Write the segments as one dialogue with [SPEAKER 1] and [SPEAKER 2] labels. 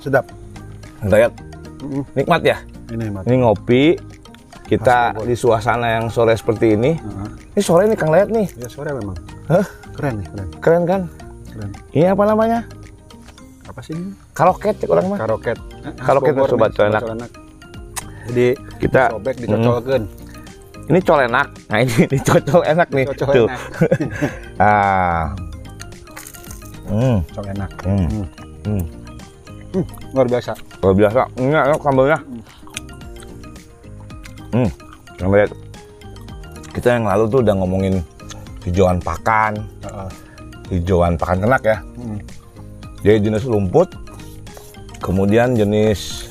[SPEAKER 1] Sedap.
[SPEAKER 2] Dayat, nikmat ya.
[SPEAKER 1] Ini mat.
[SPEAKER 2] Ini ngopi, kita
[SPEAKER 1] Asli, Boy.
[SPEAKER 2] di suasana yang sore seperti ini.
[SPEAKER 1] Heeh.
[SPEAKER 2] Ini sore nih Kang Dayat nih,
[SPEAKER 1] Ya sore memang.
[SPEAKER 2] Hah?
[SPEAKER 1] Keren nih, keren.
[SPEAKER 2] keren kan?
[SPEAKER 1] Keren.
[SPEAKER 2] Ini apa namanya?
[SPEAKER 1] Apa sih ini?
[SPEAKER 2] Karaoke cek orang mah.
[SPEAKER 1] Karoket.
[SPEAKER 2] Karoket
[SPEAKER 1] Bogor
[SPEAKER 2] sobat Ya.
[SPEAKER 1] nih,
[SPEAKER 2] colenak.
[SPEAKER 1] Jadi
[SPEAKER 2] Kita-
[SPEAKER 1] sobek dicocolkeun.
[SPEAKER 2] Ini col enak. Nah ini, ini cocol enak Hmm. nih.
[SPEAKER 1] Cocol
[SPEAKER 2] Tuh.
[SPEAKER 1] enak.
[SPEAKER 2] Ah. Hmm,
[SPEAKER 1] Cocol enak.
[SPEAKER 2] Hmm.
[SPEAKER 1] Hmm.
[SPEAKER 2] hmm.
[SPEAKER 1] Hmm, luar biasa.
[SPEAKER 2] Luar biasa. Ini enak sambalnya. Hmm. Kang Dayat, kita yang lalu tuh udah ngomongin hijauan pakan,
[SPEAKER 1] Heeh.
[SPEAKER 2] hijauan pakan ternak ya.
[SPEAKER 1] Hmm.
[SPEAKER 2] Jadi jenis rumput, kemudian jenis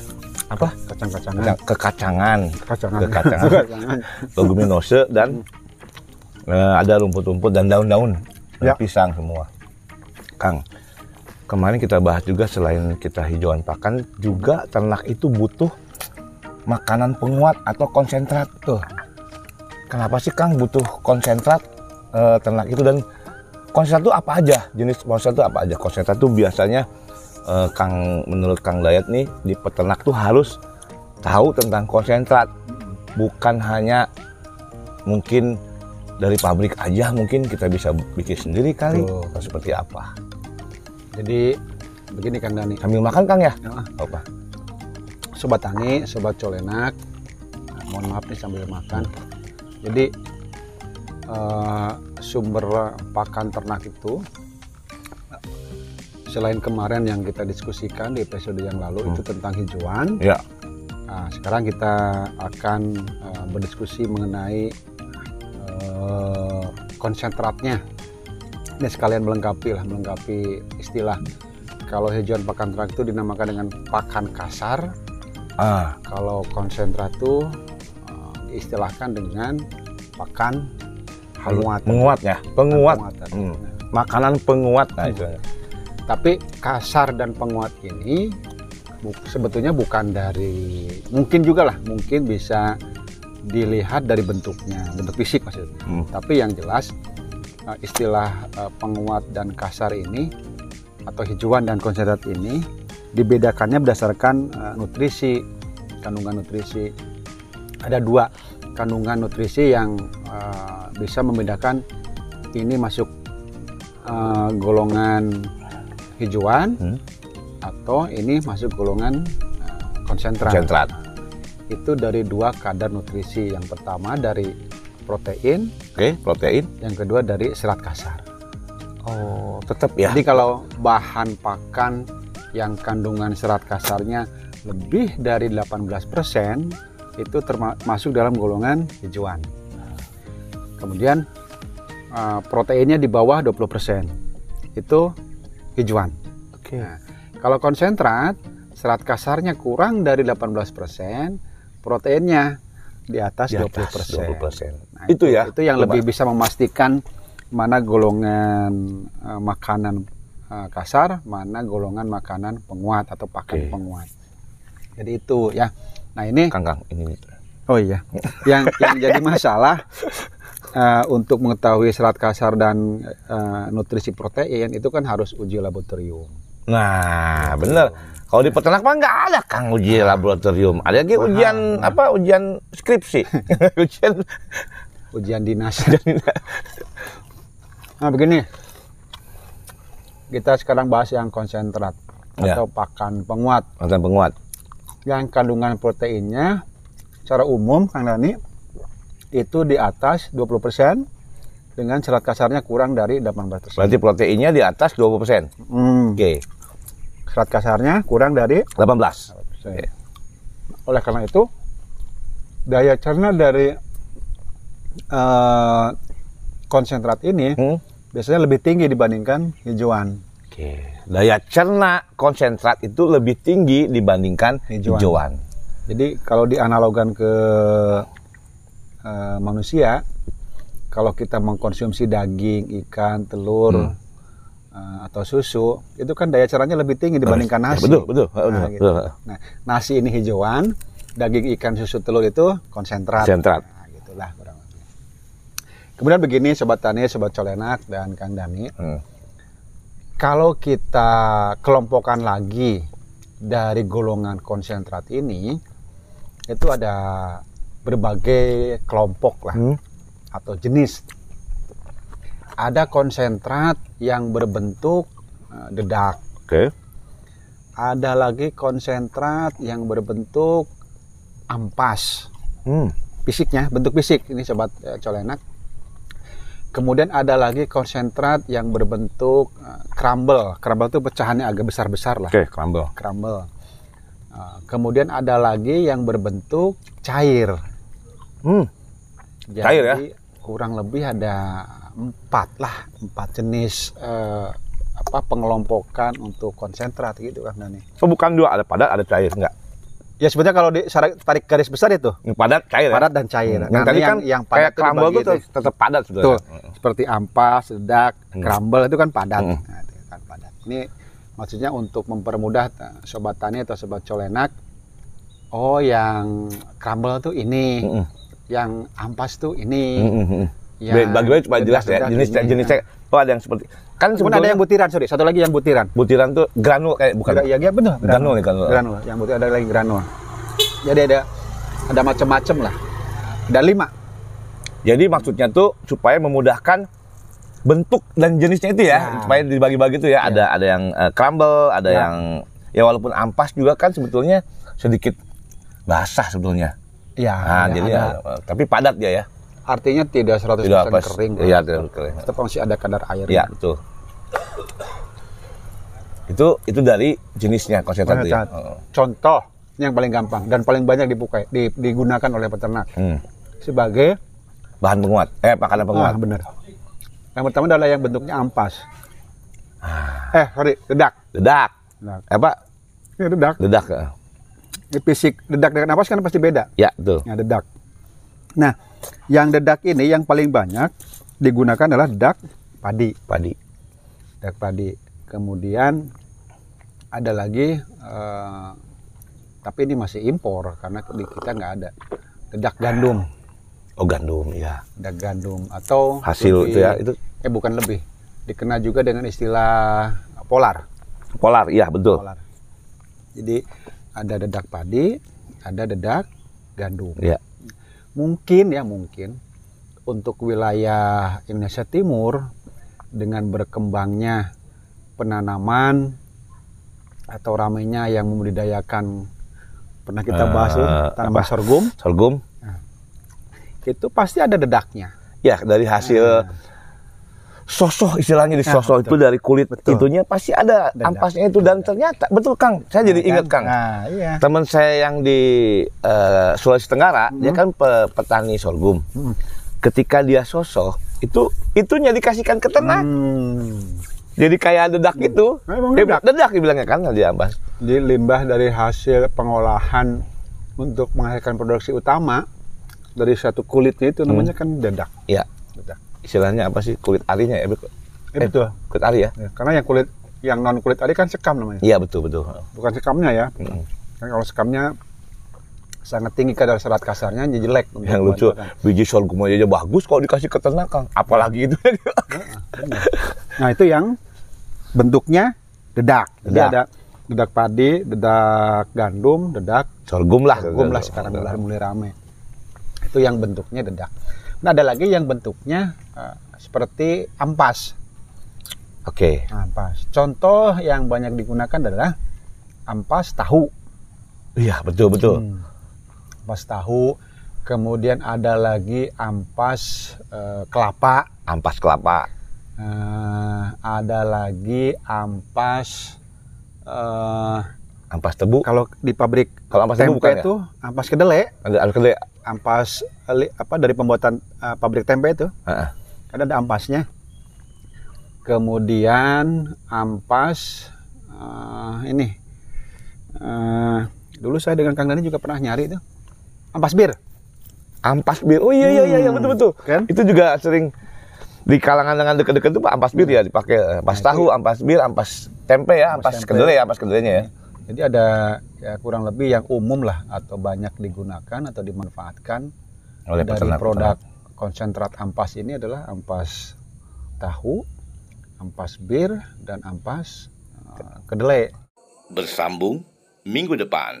[SPEAKER 2] apa?
[SPEAKER 1] Kacang-kacangan.
[SPEAKER 2] Kacang- Kekacangan,
[SPEAKER 1] Kacangan.
[SPEAKER 2] Kekacangan.
[SPEAKER 1] Kacangan.
[SPEAKER 2] leguminose dan eh, ada rumput-rumput dan daun-daun, Dan
[SPEAKER 1] Hmm. Ya.
[SPEAKER 2] pisang semua. Kang, kemarin kita bahas juga selain kita hijauan pakan, juga ternak itu butuh makanan penguat atau konsentrat tuh. Kenapa sih Kang butuh konsentrat eh, ternak itu dan konsentrat itu apa aja? Jenis konsentrat itu apa aja? Konsentrat itu biasanya eh, Kang menurut Kang Dayat nih di peternak tuh harus tahu tentang konsentrat. Bukan hanya mungkin dari pabrik aja mungkin kita bisa bikin sendiri kali
[SPEAKER 1] Tuh.
[SPEAKER 2] atau seperti apa.
[SPEAKER 1] Jadi begini Kang Dani.
[SPEAKER 2] Sambil makan Kang ya?
[SPEAKER 1] Ya.
[SPEAKER 2] Apa?
[SPEAKER 1] Sobat Tangi, Sobat Colenak, Nah, mohon maaf nih sambil makan. Jadi eh, sumber pakan ternak itu eh, selain kemarin yang kita diskusikan di episode yang lalu
[SPEAKER 2] Hmm.
[SPEAKER 1] itu tentang hijauan,
[SPEAKER 2] Ya.
[SPEAKER 1] nah, sekarang kita akan eh, berdiskusi mengenai eh, konsentratnya. Ini sekalian melengkapi lah, melengkapi istilah. Kalau hijauan pakan ternak itu dinamakan dengan pakan kasar,
[SPEAKER 2] Ah,
[SPEAKER 1] kalau konsentrat itu eh, diistilahkan dengan pakan penguat
[SPEAKER 2] Menguat ya. Penguat.
[SPEAKER 1] Penguatan.
[SPEAKER 2] Hmm. Makanan penguat nah
[SPEAKER 1] Hmm.
[SPEAKER 2] itu.
[SPEAKER 1] tapi kasar dan penguat ini bu- sebetulnya bukan dari mungkin juga lah mungkin bisa dilihat dari bentuknya bentuk fisik maksudnya
[SPEAKER 2] Hmm.
[SPEAKER 1] tapi yang jelas eh, istilah eh, penguat dan kasar ini atau hijauan dan konsentrat ini dibedakannya berdasarkan eh, nutrisi kandungan nutrisi ada dua kandungan nutrisi yang eh, bisa membedakan ini masuk eh, golongan hijauan
[SPEAKER 2] Hmm.
[SPEAKER 1] atau ini masuk golongan eh, konsentrat
[SPEAKER 2] Konsentrat.
[SPEAKER 1] itu dari dua kadar nutrisi yang pertama dari protein
[SPEAKER 2] Oke, protein.
[SPEAKER 1] yang kedua dari serat kasar.
[SPEAKER 2] Oh, tetap ya.
[SPEAKER 1] Jadi kalau bahan pakan yang kandungan serat kasarnya lebih dari 18% itu termasuk dalam golongan hijauan. Kemudian eh, proteinnya di bawah 20% itu hijauan.
[SPEAKER 2] Oke.
[SPEAKER 1] Nah, kalau konsentrat, serat kasarnya kurang dari 18%, proteinnya di atas,
[SPEAKER 2] Di atas 20%.
[SPEAKER 1] 20%. Nah,
[SPEAKER 2] Itu ya,
[SPEAKER 1] Itu yang
[SPEAKER 2] coba.
[SPEAKER 1] lebih bisa memastikan mana golongan eh, makanan eh, kasar, mana golongan makanan penguat atau pakan
[SPEAKER 2] Oke.
[SPEAKER 1] penguat. Jadi itu ya. Nah ini,
[SPEAKER 2] Kang Kang ini.
[SPEAKER 1] oh iya, yang yang jadi masalah eh, untuk mengetahui serat kasar dan eh, nutrisi protein itu kan harus uji laboratorium.
[SPEAKER 2] Nah, bener. Kalau di peternak mah nggak ada Kang uji laboratorium. Ada lagi
[SPEAKER 1] Mahal.
[SPEAKER 2] ujian apa? Ujian skripsi. ujian
[SPEAKER 1] ujian dinas. nah begini, kita sekarang bahas yang konsentrat
[SPEAKER 2] Ya.
[SPEAKER 1] atau pakan penguat
[SPEAKER 2] makanan penguat.
[SPEAKER 1] yang kandungan proteinnya secara umum Kang Dani itu di atas 20% dengan serat kasarnya kurang dari 18%.
[SPEAKER 2] Berarti proteinnya di atas 20%.
[SPEAKER 1] Hmm,
[SPEAKER 2] Oke,
[SPEAKER 1] serat kasarnya kurang dari
[SPEAKER 2] 18.
[SPEAKER 1] 18%.
[SPEAKER 2] Oke.
[SPEAKER 1] Oleh karena itu daya cerna dari eh, konsentrat ini
[SPEAKER 2] Hmm?
[SPEAKER 1] biasanya lebih tinggi dibandingkan hijauan.
[SPEAKER 2] Oke. Daya cerna konsentrat itu lebih tinggi dibandingkan
[SPEAKER 1] Hijauan.
[SPEAKER 2] hijauan.
[SPEAKER 1] Jadi kalau dianalogan ke eh, manusia, kalau kita mengkonsumsi daging, ikan,
[SPEAKER 2] Hmm.
[SPEAKER 1] telur eh, atau susu, itu kan daya cerahnya lebih tinggi dibandingkan
[SPEAKER 2] Ya,
[SPEAKER 1] nasi.
[SPEAKER 2] Betul, betul. betul,
[SPEAKER 1] Nah, gitu.
[SPEAKER 2] betul.
[SPEAKER 1] Nah, nasi ini hijauan, daging ikan, susu, telur itu konsentrat.
[SPEAKER 2] Konsentrat.
[SPEAKER 1] Nah, gitulah kurang lebih. Kemudian begini sobat tani, sobat colenak dan Kang Dani,
[SPEAKER 2] Hmm.
[SPEAKER 1] kalau kita kelompokan lagi dari golongan konsentrat ini itu ada berbagai kelompok lah
[SPEAKER 2] Hmm.
[SPEAKER 1] atau jenis. Ada konsentrat yang berbentuk eh, dedak,
[SPEAKER 2] Oke.
[SPEAKER 1] ada lagi konsentrat yang berbentuk ampas
[SPEAKER 2] Hmm.
[SPEAKER 1] fisiknya bentuk fisik ini sobat eh, colenak kemudian ada lagi konsentrat yang berbentuk eh, crumble crumble itu pecahannya agak besar besar lah
[SPEAKER 2] Oke, crumble.
[SPEAKER 1] crumble Eh, kemudian ada lagi yang berbentuk cair
[SPEAKER 2] Hmm.
[SPEAKER 1] jadi
[SPEAKER 2] Cair ya?
[SPEAKER 1] kurang lebih ada empat lah empat jenis eh, apa pengelompokan untuk konsentrat gitu kan Dani
[SPEAKER 2] So, Oh, bukan dua, ada padat, ada cair, enggak?
[SPEAKER 1] ya sebetulnya kalau di- syarat- tarik garis besar itu
[SPEAKER 2] Yang padat cair. ya?
[SPEAKER 1] padat dan cair
[SPEAKER 2] Yang
[SPEAKER 1] Karena
[SPEAKER 2] tadi kan
[SPEAKER 1] yang
[SPEAKER 2] kayak
[SPEAKER 1] itu
[SPEAKER 2] crumble
[SPEAKER 1] dibagi
[SPEAKER 2] itu
[SPEAKER 1] deh.
[SPEAKER 2] tetap padat sudah.
[SPEAKER 1] Betul. Seperti ampas, sedak, crumble itu kan padat.
[SPEAKER 2] Hmm.
[SPEAKER 1] Nah, itu kan padat. Ini maksudnya untuk mempermudah eh, sobat tani atau sobat colenak. Oh, yang crumble tuh ini,
[SPEAKER 2] Hmm,
[SPEAKER 1] yang ampas tuh ini.
[SPEAKER 2] Ya, bagi gue cuma
[SPEAKER 1] sedak-
[SPEAKER 2] jelas ya
[SPEAKER 1] sedak
[SPEAKER 2] jenis
[SPEAKER 1] ini.
[SPEAKER 2] jenisnya. Oh ada yang seperti kan
[SPEAKER 1] Nah. Kemudian ada
[SPEAKER 2] sebetulnya
[SPEAKER 1] yang butiran, sorry. Satu lagi yang butiran.
[SPEAKER 2] butiran tuh granul kayak bukan
[SPEAKER 1] Gra- Ya, ya benar.
[SPEAKER 2] granul nih granul.
[SPEAKER 1] Granul. Yang butir ada lagi granul. Jadi ada ada macam-macam lah. Ada lima.
[SPEAKER 2] Jadi maksudnya tuh supaya memudahkan bentuk dan jenisnya itu ya,
[SPEAKER 1] Ya.
[SPEAKER 2] supaya dibagi-bagi tuh ya. Ada ada yang eh, crumble, ada
[SPEAKER 1] Ya.
[SPEAKER 2] yang ya walaupun ampas juga kan sebetulnya sedikit basah sebetulnya.
[SPEAKER 1] Ya,
[SPEAKER 2] Nah,
[SPEAKER 1] ya
[SPEAKER 2] jadi
[SPEAKER 1] ada.
[SPEAKER 2] ya, eh, tapi padat dia ya.
[SPEAKER 1] artinya tidak 100%
[SPEAKER 2] apa
[SPEAKER 1] kering.
[SPEAKER 2] Iya, tidak kering.
[SPEAKER 1] Tetap masih ada kadar air.
[SPEAKER 2] Iya, betul. Itu itu dari jenisnya konsentrat tuh ya.
[SPEAKER 1] Konsentrat. Contoh yang paling gampang dan paling banyak dipukai, di- digunakan oleh peternak
[SPEAKER 2] Hmm.
[SPEAKER 1] sebagai
[SPEAKER 2] Bahan penguat. Eh, makanan penguat.
[SPEAKER 1] Ah, benar. Yang pertama adalah yang bentuknya ampas. Eh, sorry, dedak.
[SPEAKER 2] Dedak.
[SPEAKER 1] Dedak.
[SPEAKER 2] Apa?
[SPEAKER 1] Ini dedak.
[SPEAKER 2] Dedak. eh.
[SPEAKER 1] Ini fisik dedak dengan ampas kan pasti beda.
[SPEAKER 2] Ya, betul.
[SPEAKER 1] Ya, dedak. Nah, yang dedak ini yang paling banyak digunakan adalah dedak padi.
[SPEAKER 2] Padi.
[SPEAKER 1] Dedak padi. Kemudian ada lagi eh, tapi ini masih impor karena di kita nggak ada dedak gandum.
[SPEAKER 2] Oh, gandum, ya.
[SPEAKER 1] ada gandum atau
[SPEAKER 2] Hasil
[SPEAKER 1] lebih-
[SPEAKER 2] itu ya, itu-
[SPEAKER 1] eh bukan lebih dikenal juga dengan istilah polar
[SPEAKER 2] Polar, iya, betul.
[SPEAKER 1] polar jadi ada dedak padi ada dedak gandum
[SPEAKER 2] Iya.
[SPEAKER 1] mungkin ya mungkin untuk wilayah Indonesia Timur dengan berkembangnya penanaman atau ramainya yang membudidayakan pernah kita bahas tuh,
[SPEAKER 2] Eh,
[SPEAKER 1] tanaman
[SPEAKER 2] apa?
[SPEAKER 1] sorghum
[SPEAKER 2] Sorghum.
[SPEAKER 1] itu pasti ada dedaknya
[SPEAKER 2] Ya, dari hasil sosoh istilahnya di
[SPEAKER 1] Hmm. Nah,
[SPEAKER 2] sosoh itu
[SPEAKER 1] betul.
[SPEAKER 2] dari kulit
[SPEAKER 1] Betul.
[SPEAKER 2] itunya pasti ada
[SPEAKER 1] Dedak.
[SPEAKER 2] ampasnya itu dan ternyata betul Kang. Saya jadi
[SPEAKER 1] Nah,
[SPEAKER 2] ingat
[SPEAKER 1] kan?
[SPEAKER 2] Kang.
[SPEAKER 1] Nah, iya.
[SPEAKER 2] Teman saya yang di eh, Sulawesi Tenggara, dia kan pe- petani sorghum.
[SPEAKER 1] Hmm.
[SPEAKER 2] Ketika dia sosoh, itu itunya dikasihkan ke ternak.
[SPEAKER 1] Hmm.
[SPEAKER 2] Jadi kayak dedak gitu.
[SPEAKER 1] Memang
[SPEAKER 2] Eh,
[SPEAKER 1] dedak.
[SPEAKER 2] dedak dibilangnya kan dia ambas.
[SPEAKER 1] Jadi limbah dari hasil pengolahan untuk menghasilkan produksi utama dari satu kulitnya
[SPEAKER 2] Hmm.
[SPEAKER 1] itu namanya kan dedak.
[SPEAKER 2] Ya,
[SPEAKER 1] Dedak.
[SPEAKER 2] istilahnya apa sih kulit arinya ya?
[SPEAKER 1] Eh, betul.
[SPEAKER 2] Kulit ari ya?
[SPEAKER 1] Ya, karena yang kulit yang non kulit tadi kan sekam namanya.
[SPEAKER 2] Iya betul betul.
[SPEAKER 1] Bukan sekamnya ya.
[SPEAKER 2] Mm.
[SPEAKER 1] Kan kalau sekamnya sangat tinggi kadar serat kasarnya jadi jelek. untuk
[SPEAKER 2] Yang lucu
[SPEAKER 1] bahan makan.
[SPEAKER 2] biji sorghum aja bagus kalau dikasih ke ternak Kang. Apalagi itu.
[SPEAKER 1] Nah, itu yang bentuknya dedak. Jadi
[SPEAKER 2] Dedak.
[SPEAKER 1] ada dedak padi, dedak gandum, dedak
[SPEAKER 2] sorghum lah.
[SPEAKER 1] Sorghum lah sekarang mulai, mulai rame. Itu yang bentuknya dedak. Nah ada lagi yang bentuknya eh, seperti ampas. Nah,
[SPEAKER 2] Oke.
[SPEAKER 1] Ampas. Contoh yang banyak digunakan adalah ampas tahu.
[SPEAKER 2] Iya betul betul.
[SPEAKER 1] Hmm. Ampas tahu. Kemudian ada lagi ampas eh, kelapa.
[SPEAKER 2] Ampas kelapa.
[SPEAKER 1] Eh, ada lagi ampas eh,
[SPEAKER 2] Ampas tebu.
[SPEAKER 1] kalau di pabrik
[SPEAKER 2] Kalau ampas tebu
[SPEAKER 1] tempe
[SPEAKER 2] bukan ya?
[SPEAKER 1] itu ampas kedelai,
[SPEAKER 2] Ada ada kedai.
[SPEAKER 1] ampas eh, li- apa dari pembuatan eh, pabrik tempe itu
[SPEAKER 2] Heeh.
[SPEAKER 1] Karena ada ampasnya. kemudian ampas eh, ini eh, dulu saya dengan Kang Dani juga pernah nyari itu ampas bir
[SPEAKER 2] ampas bir oh iya iya iya iya,
[SPEAKER 1] Hmm,
[SPEAKER 2] betul betul
[SPEAKER 1] kan?
[SPEAKER 2] itu juga sering di kalangan dengan deket-deket tuh pak ampas bir ya dipakai eh, ampas
[SPEAKER 1] Nah, itu-
[SPEAKER 2] tahu ampas bir ampas tempe ya
[SPEAKER 1] Ampas
[SPEAKER 2] ampas
[SPEAKER 1] tempe.
[SPEAKER 2] kedelai ya ampas kedelainya ya
[SPEAKER 1] jadi ada ya, kurang lebih yang umum lah atau banyak digunakan atau dimanfaatkan
[SPEAKER 2] oleh
[SPEAKER 1] dari
[SPEAKER 2] peternak
[SPEAKER 1] produk konsentrat ampas ini adalah ampas tahu, ampas bir, dan ampas eh, kedelai.
[SPEAKER 3] Bersambung minggu depan.